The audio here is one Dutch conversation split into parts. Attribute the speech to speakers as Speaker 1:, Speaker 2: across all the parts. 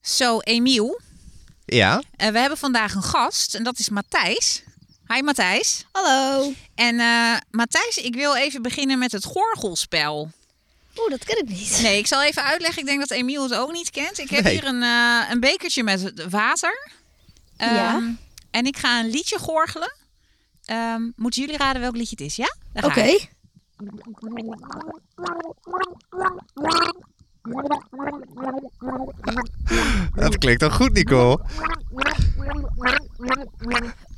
Speaker 1: Zo, Emiel,
Speaker 2: Ja?
Speaker 1: eh, we hebben vandaag een gast en dat is Matthijs. Hi Matthijs.
Speaker 3: Hallo.
Speaker 1: En eh, Matthijs, ik wil even beginnen met het gorgelspel.
Speaker 3: Oeh, Oh, dat ken ik niet.
Speaker 1: Nee, ik zal even uitleggen. Ik denk dat Emiel het ook niet kent. Ik heb
Speaker 2: Nee.
Speaker 1: hier een, eh, een bekertje met het water. Ehm,
Speaker 3: Ja.
Speaker 1: En ik ga een liedje gorgelen. Ehm, moeten jullie raden welk liedje het is, ja? Daar ga
Speaker 3: Oké.
Speaker 1: ik.
Speaker 2: Dat klinkt dan goed, Nicole.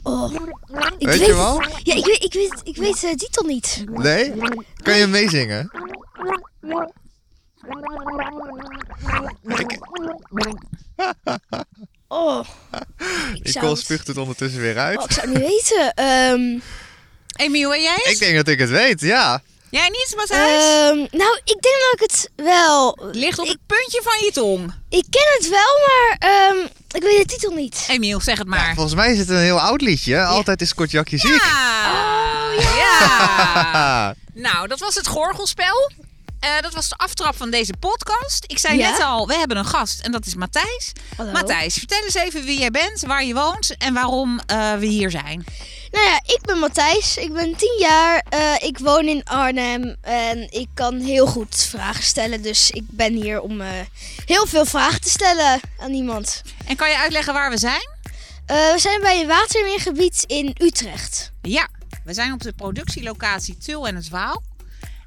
Speaker 3: Oh. Ik
Speaker 2: Weet je
Speaker 3: het-
Speaker 2: wel?
Speaker 3: Ja, ik weet, ik weet, ik weet de titel niet.
Speaker 2: Nee? Kan je meezingen?
Speaker 3: Oh. Ik zou,
Speaker 2: Nicole
Speaker 3: het,
Speaker 2: spuugt het ondertussen weer uit.
Speaker 3: oh, ik zou het niet weten. Ehm,
Speaker 1: Emiel, en jij?
Speaker 2: Ik denk dat ik het weet, ja.
Speaker 1: Jij niet, Matthijs?
Speaker 3: ehm, nou, ik denk dat ik het wel...
Speaker 1: Ligt op het puntje van je tong.
Speaker 3: Ik ken het wel, maar ehm, ik weet de titel niet.
Speaker 1: Emiel, zeg het maar.
Speaker 2: Volgens mij is het een heel oud liedje. Altijd is Kort Jakje ziek.
Speaker 1: Ah, Ja.
Speaker 3: Oh,
Speaker 1: ja.
Speaker 2: Haha.
Speaker 1: Nou, dat was het gorgelspel. Eh, dat was de aftrap van deze podcast. Ik zei
Speaker 3: Ja.
Speaker 1: net al, we hebben een gast en dat is Matthijs.
Speaker 3: Hallo.
Speaker 1: Matthijs, vertel eens even wie jij bent, waar je woont en waarom eh, we hier zijn.
Speaker 3: Nou ja, ik ben Matthijs. Ik ben 10 jaar. eh, ik woon in Arnhem. En ik kan heel goed vragen stellen. Dus ik ben hier om eh, heel veel vragen te stellen aan iemand.
Speaker 1: En kan je uitleggen waar we zijn?
Speaker 3: Eh, we zijn bij een watermeergebied in Utrecht.
Speaker 1: Ja, we zijn op de productielocatie Tul en het Waal.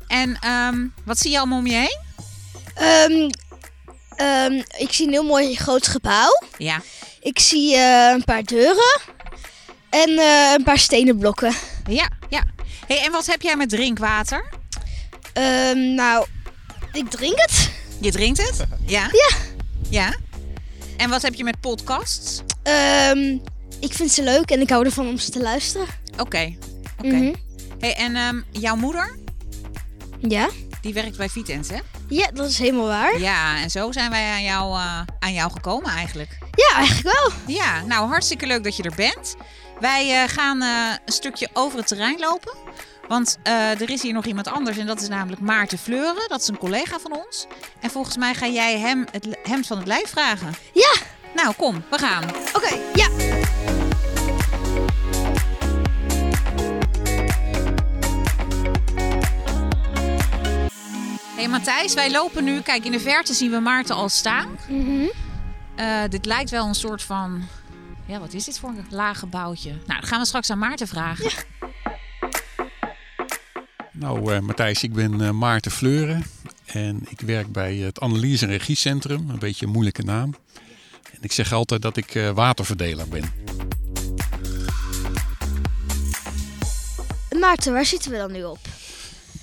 Speaker 1: En ehm, wat zie je allemaal om je heen?
Speaker 3: Ehm, ehm, ik zie een heel mooi groot gebouw.
Speaker 1: Ja.
Speaker 3: Ik zie eh, een paar deuren. En eh, een paar stenen blokken.
Speaker 1: Ja, ja. Hey, en wat heb jij met drinkwater?
Speaker 3: Ehm, nou, ik drink het.
Speaker 1: Je drinkt het? Ja.
Speaker 3: Ja.
Speaker 1: Ja. En wat heb je met podcasts?
Speaker 3: Ehm, ik vind ze leuk en ik hou ervan om ze te luisteren.
Speaker 1: Oké. Oké.
Speaker 3: Mhm.
Speaker 1: Hey, en ehm, jouw moeder,
Speaker 3: Ja.
Speaker 1: die werkt bij Vitens, hè?
Speaker 3: Ja, dat is helemaal waar.
Speaker 1: Ja, en zo zijn wij aan jou, eh, aan jou gekomen eigenlijk.
Speaker 3: Ja, eigenlijk wel.
Speaker 1: Ja, nou hartstikke leuk dat je er bent. Wij eh, gaan eh, een stukje over het terrein lopen. Want eh, er is hier nog iemand anders en dat is namelijk Maarten Fleuren. Dat is een collega van ons. En volgens mij ga jij hem het li- hemd van het lijf vragen.
Speaker 3: Ja,
Speaker 1: Nou, kom, we gaan.
Speaker 3: oké, ja.
Speaker 1: hey, Matthijs, wij lopen nu. Kijk, in de verte zien we Maarten al staan. Eh, dit lijkt wel een soort van... Ja, wat is dit voor een laag gebouwtje? Nou, dat gaan we straks aan Maarten vragen.
Speaker 4: Nou, eh, Matthijs, ik ben eh, Maarten Fleuren en ik werk bij het Analyse- en Regiecentrum, een beetje een moeilijke naam. En ik zeg altijd dat ik eh, waterverdeler ben.
Speaker 3: Maarten, waar zitten we dan nu op?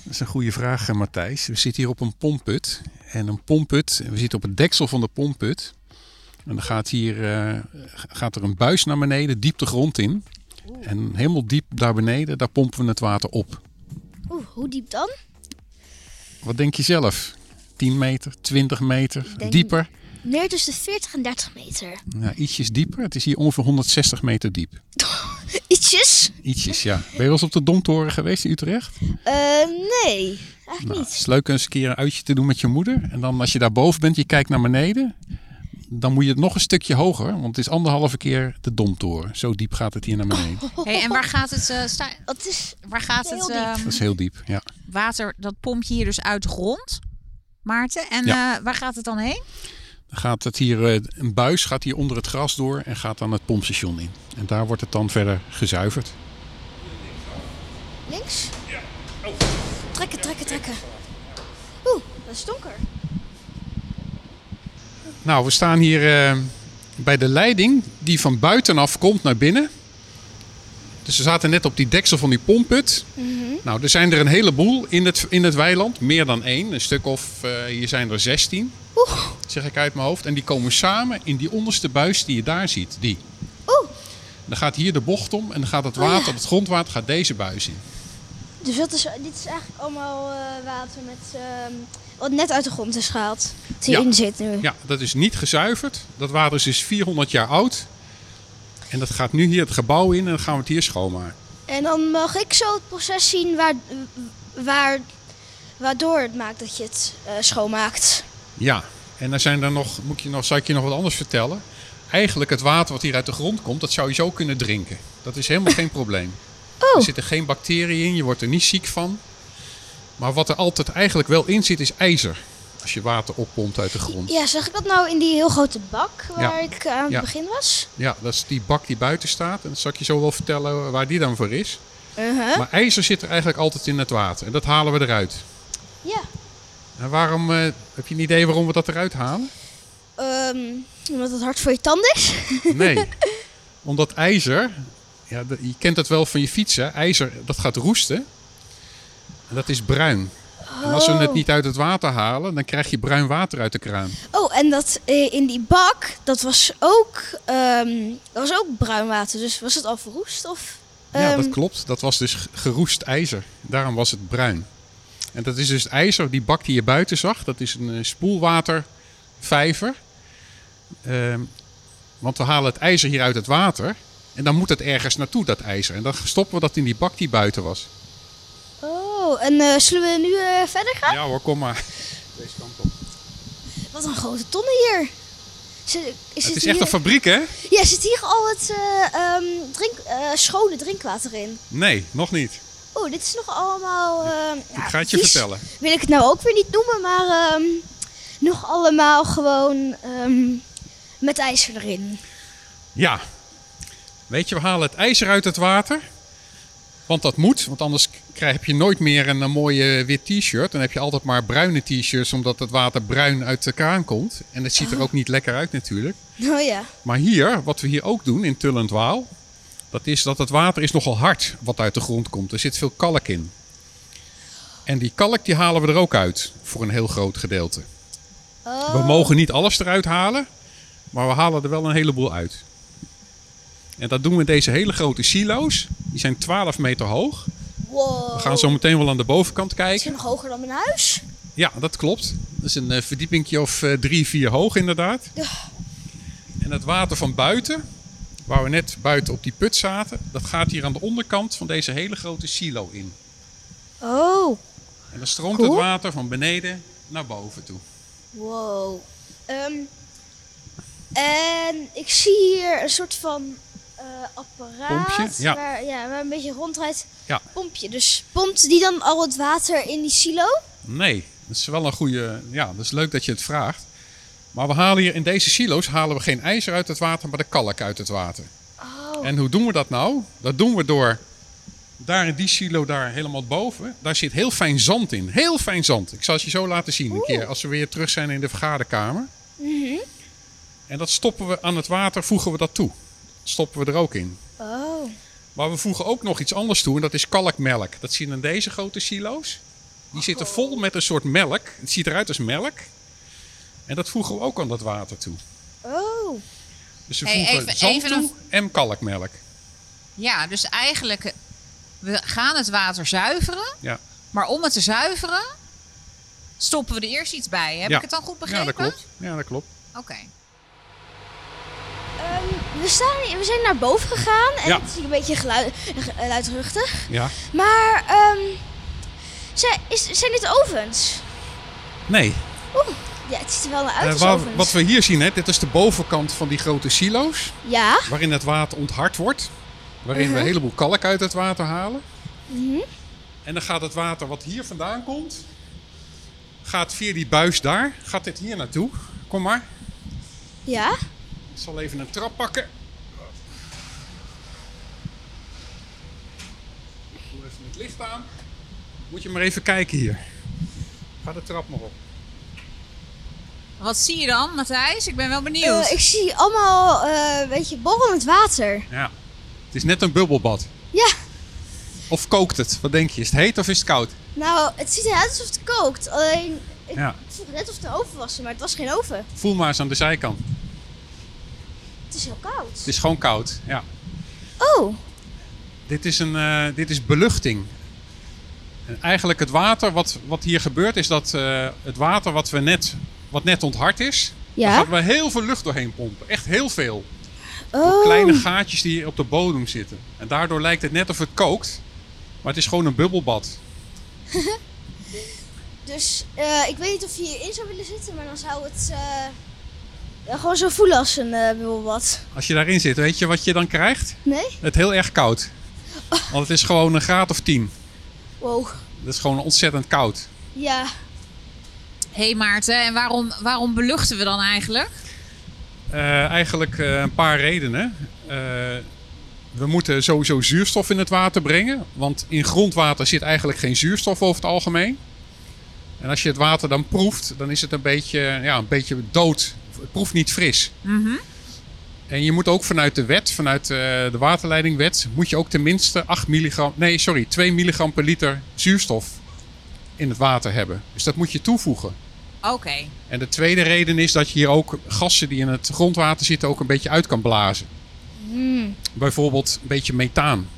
Speaker 4: Dat is een goede vraag, eh, Matthijs. We zitten hier op een pompput. En een pompput, we zitten op het deksel van de pompput. En dan gaat, hier, eh, gaat er een buis naar beneden, diep de grond in. En helemaal diep daar beneden, daar pompen we het water op.
Speaker 3: Oeh, hoe diep dan?
Speaker 4: Wat denk je zelf? 10 meter, 20 meter,
Speaker 3: denk-
Speaker 4: dieper?
Speaker 3: Meer tussen de 40 en 30 meter.
Speaker 4: Ja, ietsjes dieper. Het is hier ongeveer 160 meter diep.
Speaker 3: Ietsjes?
Speaker 4: Ietsjes, ja. Ben je wel eens op de Domtoren geweest in Utrecht?
Speaker 3: Eh, nee, eigenlijk
Speaker 4: Nou, het
Speaker 3: niet.
Speaker 4: is leuk eens een keer een uitje te doen met je moeder. En dan als je daar boven bent, je kijkt naar beneden. Dan moet je het nog een stukje hoger, want het is anderhalve keer de Domtoren. Zo diep gaat het hier naar beneden.
Speaker 1: Hey, en waar gaat het, eh, sta-
Speaker 3: Dat is...
Speaker 1: waar gaat het
Speaker 3: Heel diep.
Speaker 1: ehm,
Speaker 4: Dat is heel diep, ja.
Speaker 1: water, dat pomp je hier dus uit de grond, Maarten? En eh, waar gaat het dan heen?
Speaker 4: Dan gaat het hier, eh, een buis gaat hier onder het gras door en gaat dan het pompstation in. En daar wordt het dan verder gezuiverd.
Speaker 3: Links? Trekken, trekken, trekken. Oeh, dat is donker.
Speaker 4: Nou, we staan hier eh, bij de leiding die van buitenaf komt naar binnen. Dus we zaten net op die deksel van die pompput.
Speaker 3: Mhm.
Speaker 4: Nou, er zijn er een heleboel in het, in het weiland. Meer dan één. Een stuk of, eh, hier zijn er zestien,
Speaker 3: Oeh,
Speaker 4: zeg ik uit mijn hoofd. En die komen samen in die onderste buis die je daar ziet. Die.
Speaker 3: oeh.
Speaker 4: Dan gaat hier de bocht om en dan gaat het
Speaker 3: Oh ja.
Speaker 4: water, het grondwater, gaat deze buis in.
Speaker 3: Dus dat is, dit is eigenlijk allemaal eh, water met, ehm, wat net uit de grond is gehaald. Dat
Speaker 4: Ja.
Speaker 3: hierin zit nu.
Speaker 4: Ja, dat is niet gezuiverd. Dat water is dus 400 jaar oud. En dat gaat nu hier het gebouw in en dan gaan we het hier schoonmaken.
Speaker 3: En dan mag ik zo het proces zien waar, waar, waardoor het maakt dat je het eh, schoonmaakt.
Speaker 4: Ja, En dan zijn er nog, moet ik je nog, zou ik je nog wat anders vertellen? Eigenlijk het water wat hier uit de grond komt, dat zou je zo kunnen drinken. Dat is helemaal geen probleem.
Speaker 3: Oh.
Speaker 4: Er zitten geen bacteriën in, je wordt er niet ziek van. Maar wat er altijd eigenlijk wel in zit, is ijzer. Als je water oppompt uit de grond.
Speaker 3: Ja, zag ik dat nou in die heel grote bak waar ik aan het
Speaker 4: Ja.
Speaker 3: begin was?
Speaker 4: Ja, dat is die bak die buiten staat. En dat zal ik je zo wel vertellen waar die dan voor is.
Speaker 3: Uh-huh.
Speaker 4: Maar ijzer zit er eigenlijk altijd in het water. En dat halen we eruit.
Speaker 3: Ja.
Speaker 4: En waarom, eh, heb je een idee waarom we dat eruit halen?
Speaker 3: Ehm, omdat het hard voor je tanden is.
Speaker 4: Nee. Omdat ijzer, ja, de- je kent dat wel van je fietsen, ijzer dat gaat roesten. En dat is bruin. En als we het niet uit het water halen, dan krijg je bruin water uit de kraan.
Speaker 3: Oh, en dat eh, in die bak, dat was ook, ehm, dat was ook bruin water. Dus was het al verroest? Of,
Speaker 4: ja, dat
Speaker 3: ehm,
Speaker 4: klopt. Dat was dus g- geroest ijzer. Daarom was het bruin. En dat is dus het ijzer, die bak die je buiten zag, dat is een eh, spoelwatervijver. Ehm, want we halen het ijzer hier uit het water. En dan moet het ergens naartoe, dat ijzer. En dan stoppen we dat in die bak die buiten was.
Speaker 3: Oh, en eh, zullen we nu eh, verder gaan?
Speaker 4: Ja hoor, kom maar. Deze kant op.
Speaker 3: Wat een grote tonnen hier. Zit, is
Speaker 4: Het is echt
Speaker 3: hier,
Speaker 4: een fabriek, hè?
Speaker 3: Ja, zit hier al het eh, ehm, drink, eh, schone drinkwater in?
Speaker 4: Nee, nog niet.
Speaker 3: Oh, dit is nog allemaal... ehm,
Speaker 4: Ik
Speaker 3: ja,
Speaker 4: ga het je
Speaker 3: vies.
Speaker 4: vertellen.
Speaker 3: Wil ik het nou ook weer niet noemen, maar ehm, nog allemaal gewoon ehm, met ijzer erin.
Speaker 4: Ja. Weet je, we halen het ijzer uit het water. Want dat moet, want anders k- krijg, heb je nooit meer een, eh, mooie eh, wit t-shirt. Dan heb je altijd maar bruine t-shirts, omdat het water bruin uit de kraan komt. En het ziet er ook niet lekker uit natuurlijk.
Speaker 3: Oh ja.
Speaker 4: Maar hier, wat we hier ook doen in Tullendwaal, dat is dat het water is nogal hard wat uit de grond komt. Er zit veel kalk in. En die kalk die halen we er ook uit, voor een heel groot gedeelte.
Speaker 3: Oh.
Speaker 4: We mogen niet alles eruit halen, maar we halen er wel een heleboel uit. En dat doen we in deze hele grote silo's. Die zijn 12 meter hoog.
Speaker 3: Wow.
Speaker 4: We gaan zo meteen wel aan de bovenkant
Speaker 3: Het is
Speaker 4: kijken.
Speaker 3: nog hoger dan mijn huis.
Speaker 4: Ja, dat klopt. Dat is een eh, verdiepingje of eh, drie, vier hoog inderdaad.
Speaker 3: Ja.
Speaker 4: En het water van buiten, waar we net buiten op die put zaten, dat gaat hier aan de onderkant van deze hele grote silo in.
Speaker 3: Oh.
Speaker 4: En dan stroomt
Speaker 3: Cool.
Speaker 4: het water van beneden naar boven toe.
Speaker 3: Wow. Ehm, en ik zie hier een soort van eh, apparaat.
Speaker 4: Pompje, ja.
Speaker 3: Waar, ja, waar een beetje rondrijdt.
Speaker 4: Ja.
Speaker 3: Pompje. Dus pompt die dan al het water in die silo?
Speaker 4: Nee, dat is wel een goede. Ja, dat is leuk dat je het vraagt. Maar we halen hier in deze silo's halen we geen ijzer uit het water, maar de kalk uit het water.
Speaker 3: Oh.
Speaker 4: En hoe doen we dat nou? Dat doen we door daar in die silo daar helemaal boven. Daar zit heel fijn zand in. Heel fijn zand. Ik zal het je zo laten zien een keer als we weer terug zijn in de vergaderkamer. En dat stoppen we aan het water, voegen we dat toe. Dat stoppen we er ook in.
Speaker 3: Oh.
Speaker 4: Maar we voegen ook nog iets anders toe en dat is kalkmelk. Dat zien in deze grote silo's. Die
Speaker 1: Oh.
Speaker 4: zitten vol met een soort melk. Het ziet eruit als melk. En dat voegen we ook aan dat water toe.
Speaker 3: Oh.
Speaker 4: Dus we
Speaker 1: Hey,
Speaker 4: voegen
Speaker 1: even-
Speaker 4: zand
Speaker 1: even
Speaker 4: toe
Speaker 1: een-
Speaker 4: en kalkmelk.
Speaker 1: Ja, dus eigenlijk, eh, we gaan het water zuiveren.
Speaker 4: Ja.
Speaker 1: Maar om het te zuiveren, stoppen we er eerst iets bij. Heb
Speaker 4: Ja.
Speaker 1: ik het dan goed begrepen?
Speaker 4: Ja, dat klopt. Ja, dat klopt.
Speaker 1: Oké.
Speaker 3: Ehm, we, staan, hier- we zijn naar boven gegaan. En
Speaker 4: Ja.
Speaker 3: het is hier een beetje geluid, luidruchtig.
Speaker 4: Ja.
Speaker 3: Maar ehm, zijn, is, zijn dit ovens?
Speaker 4: Nee,
Speaker 1: Oh,
Speaker 3: Ja, het ziet er wel naar uit
Speaker 4: eh,
Speaker 3: als
Speaker 4: waar-
Speaker 3: ovens.
Speaker 4: wat we hier zien, hè, dit is de bovenkant van die grote silo's.
Speaker 3: Ja.
Speaker 4: Waarin het water onthard wordt. Waarin we
Speaker 3: Mhm.
Speaker 4: een heleboel kalk uit het water halen. En dan gaat het water wat hier vandaan komt, gaat via die buis daar, gaat dit hier naartoe. Kom maar.
Speaker 3: Ja.
Speaker 4: Ik zal even een trap pakken. Ik doe even het licht aan. Moet je maar even kijken hier. Ga de trap maar op.
Speaker 1: Wat zie je dan, Matthijs? Ik ben wel benieuwd.
Speaker 3: Eh, ik zie allemaal eh, een beetje borrelend water.
Speaker 4: Ja. Het is net een bubbelbad.
Speaker 3: Ja.
Speaker 4: Of kookt het? Wat denk je? Is het heet of is het koud?
Speaker 3: Nou, het ziet eruit alsof het kookt. Alleen, ik
Speaker 4: Ja.
Speaker 3: vroeg net of het een oven was, maar het was geen oven.
Speaker 4: Voel maar eens aan de zijkant.
Speaker 3: Het is heel koud.
Speaker 4: Het is gewoon koud. Ja.
Speaker 3: Oh,
Speaker 4: Dit is, een, eh, dit is beluchting. En eigenlijk het water, wat, wat hier gebeurt, is dat eh, het water wat, we net, wat net onthard is,
Speaker 3: Ja.
Speaker 4: daar gaan we heel veel lucht doorheen pompen. Echt heel veel.
Speaker 3: oh.
Speaker 4: Kleine gaatjes die hier op de bodem zitten. En daardoor lijkt het net of het kookt, maar het is gewoon een bubbelbad.
Speaker 3: Dus eh, ik weet niet of je hierin zou willen zitten, maar dan zou het eh, ja, gewoon zo voelen als een eh bubbelbad.
Speaker 4: Als je daarin zit, weet je wat je dan krijgt?
Speaker 3: Nee?
Speaker 4: Het heel erg koud. Want het is gewoon een graad of 10.
Speaker 3: Wow.
Speaker 4: Dat is gewoon ontzettend koud.
Speaker 3: Ja.
Speaker 1: Hé hey Maarten, en waarom, waarom beluchten we dan eigenlijk?
Speaker 4: Eh, eigenlijk eh, een paar redenen. Eh, we moeten sowieso zuurstof in het water brengen. Want in grondwater zit eigenlijk geen zuurstof over het algemeen. En als je het water dan proeft, dan is het een beetje, ja, een beetje dood. Het proeft niet fris.
Speaker 1: Mhm.
Speaker 4: En je moet ook vanuit de wet, vanuit eh, de waterleidingwet, moet je ook tenminste 8 milligram, nee sorry, 2 milligram per liter zuurstof in het water hebben. Dus dat moet je toevoegen.
Speaker 1: Oké.
Speaker 4: En de tweede reden is dat je hier ook gassen die in het grondwater zitten ook een beetje uit kan blazen. Bijvoorbeeld een beetje methaan.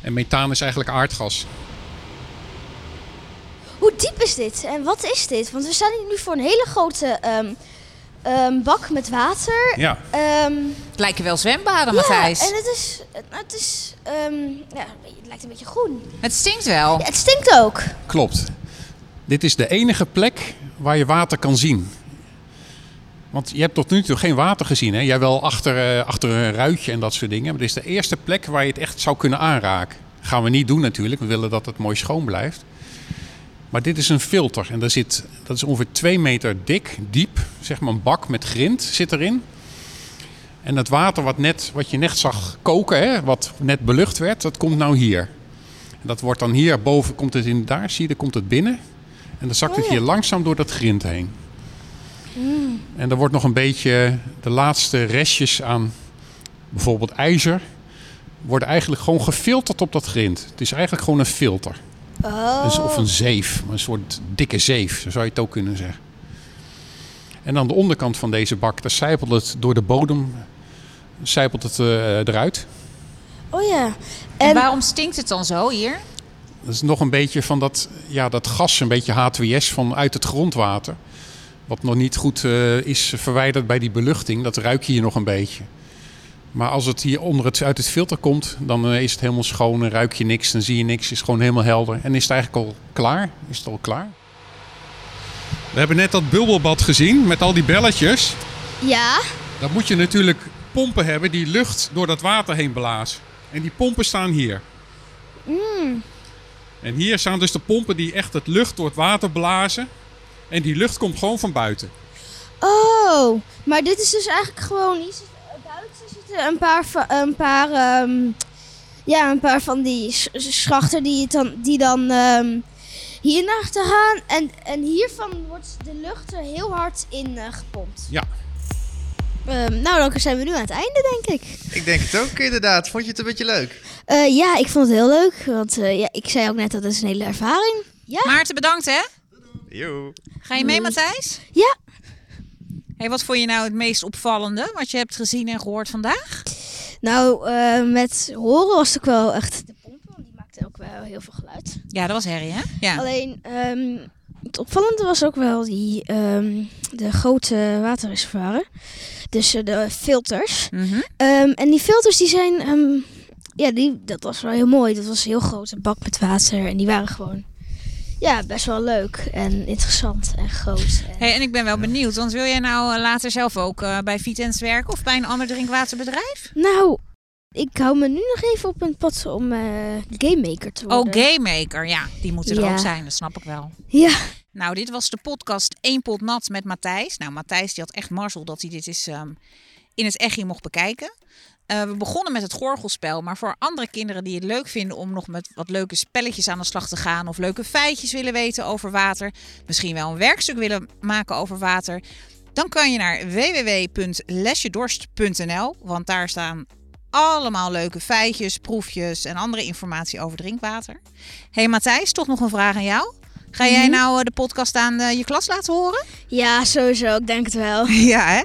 Speaker 4: En methaan is eigenlijk aardgas.
Speaker 3: Hoe diep is dit en wat is dit? Want we staan hier nu voor een hele grote ehm, ehm, bak met water.
Speaker 4: Ja,
Speaker 3: Ehm,
Speaker 1: Het lijken wel zwembaden,
Speaker 3: Ja,
Speaker 1: Matthijs.
Speaker 3: en het is, het is ehm, ja, het lijkt een beetje groen.
Speaker 1: Het stinkt wel.
Speaker 3: Ja, het stinkt ook.
Speaker 4: klopt. Dit is de enige plek waar je water kan zien. Want je hebt tot nu toe geen water gezien. Hè? Jij wel achter, eh, achter een ruitje en dat soort dingen. Maar dit is de eerste plek waar je het echt zou kunnen aanraken. Gaan we niet doen natuurlijk. We willen dat het mooi schoon blijft. Maar dit is een filter. En daar zit, dat is ongeveer 2 meter dik, diep. Zeg maar een bak met grind zit erin. En dat water wat, net, wat je net zag koken, hè, wat net belucht werd, dat komt nou hier. En dat wordt dan hier boven, komt het in daar, zie je, dan komt het binnen. En dan zakt het hier langzaam door dat grind heen. En er wordt nog een beetje de laatste restjes aan bijvoorbeeld ijzer. Worden eigenlijk gewoon gefilterd op dat grind. Het is eigenlijk gewoon een filter.
Speaker 3: Oh.
Speaker 4: Dus Of een zeef, maar een soort dikke zeef, zo zou je het ook kunnen zeggen. En aan de onderkant van deze bak, daar zijpelt het door de bodem zijpelt het, eh, eruit.
Speaker 3: Oh ja.
Speaker 1: En,
Speaker 3: En,
Speaker 1: waarom stinkt het dan zo hier?
Speaker 4: Dat is nog een beetje van dat, ja, dat gas, een beetje H2S vanuit het grondwater. Wat nog niet goed eh, is verwijderd bij die beluchting, dat ruik je hier nog een beetje. Maar als het hier onder het, uit het filter komt, dan eh, is het helemaal schoon en ruik je niks, dan zie je niks, is gewoon helemaal helder. En is het eigenlijk al klaar? Is het al klaar? We hebben net dat bubbelbad gezien met al die belletjes.
Speaker 3: ja.
Speaker 4: Dan moet je natuurlijk pompen hebben die lucht door dat water heen blazen. En die pompen staan hier. En hier staan dus de pompen die echt het lucht door het water blazen. En die lucht komt gewoon van buiten.
Speaker 3: Oh. Maar dit is dus eigenlijk gewoon iets. Buiten zitten een paar, va- een paar, ehm, ja, een paar van die s- s- schachten die, het dan, die dan ehm hier naar te gaan. En, en hiervan wordt de lucht er heel hard in eh, gepompt.
Speaker 4: Ja.
Speaker 3: Ehm, nou, dan zijn we nu aan het einde, denk ik.
Speaker 2: Ik denk het ook inderdaad. Vond je het een beetje leuk?
Speaker 3: Eh, ja, ik vond het heel leuk. Want eh, ja, ik zei ook net dat het is een hele ervaring.
Speaker 1: Maarten, bedankt hè.
Speaker 2: Yo.
Speaker 1: Ga je mee, Matthijs?
Speaker 3: Ja.
Speaker 1: Hey, wat vond je nou het meest opvallende wat je hebt gezien en gehoord vandaag?
Speaker 3: Nou, eh, met horen was het ook wel echt... De pompen, want die maakte ook wel heel veel geluid.
Speaker 1: Ja, dat was Harry, hè? Ja.
Speaker 3: Alleen, ehm, het opvallende was ook wel die, ehm, de grote waterreservoiren. Dus eh, de filters.
Speaker 1: Mhm.
Speaker 3: Ehm, en die filters die zijn... ehm, ja, die, dat was wel heel mooi. Dat was een heel grote bak met water. En die waren gewoon... Ja, best wel leuk en interessant en groot. En...
Speaker 1: Hey, en ik ben wel benieuwd, want wil jij nou eh, later zelf ook eh, bij Vitens werken of bij een ander drinkwaterbedrijf?
Speaker 3: Nou, ik hou me nu nog even op het pad om eh game maker te worden.
Speaker 1: Oh, Game Maker, ja, die moeten er
Speaker 3: Ja.
Speaker 1: ook zijn, dat snap ik wel.
Speaker 3: Ja.
Speaker 1: Nou, dit was de podcast Eén Pot Nat met Matthijs. Nou, Matthijs die had echt mazzel dat hij dit eens ehm, in het echt mocht bekijken. Eh, we begonnen met het gorgelspel, maar voor andere kinderen die het leuk vinden om nog met wat leuke spelletjes aan de slag te gaan of leuke feitjes willen weten over water, misschien wel een werkstuk willen maken over water, dan kan je naar www.lesjedorst.nl, want daar staan allemaal leuke feitjes, proefjes en andere informatie over drinkwater. hey Matthijs, toch nog een vraag aan jou. Ga jij nou eh, de podcast aan eh, je klas laten horen?
Speaker 3: Ja, sowieso. Ik denk het wel.
Speaker 1: Ja, hè?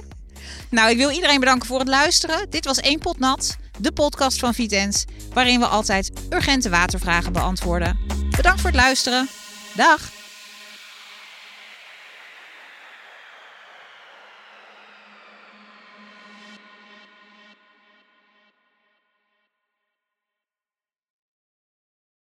Speaker 1: Nou, ik wil iedereen bedanken voor het luisteren. Dit was Eén Pot Nat, de podcast van Vitens, waarin we altijd urgente watervragen beantwoorden. Bedankt voor het luisteren. Dag!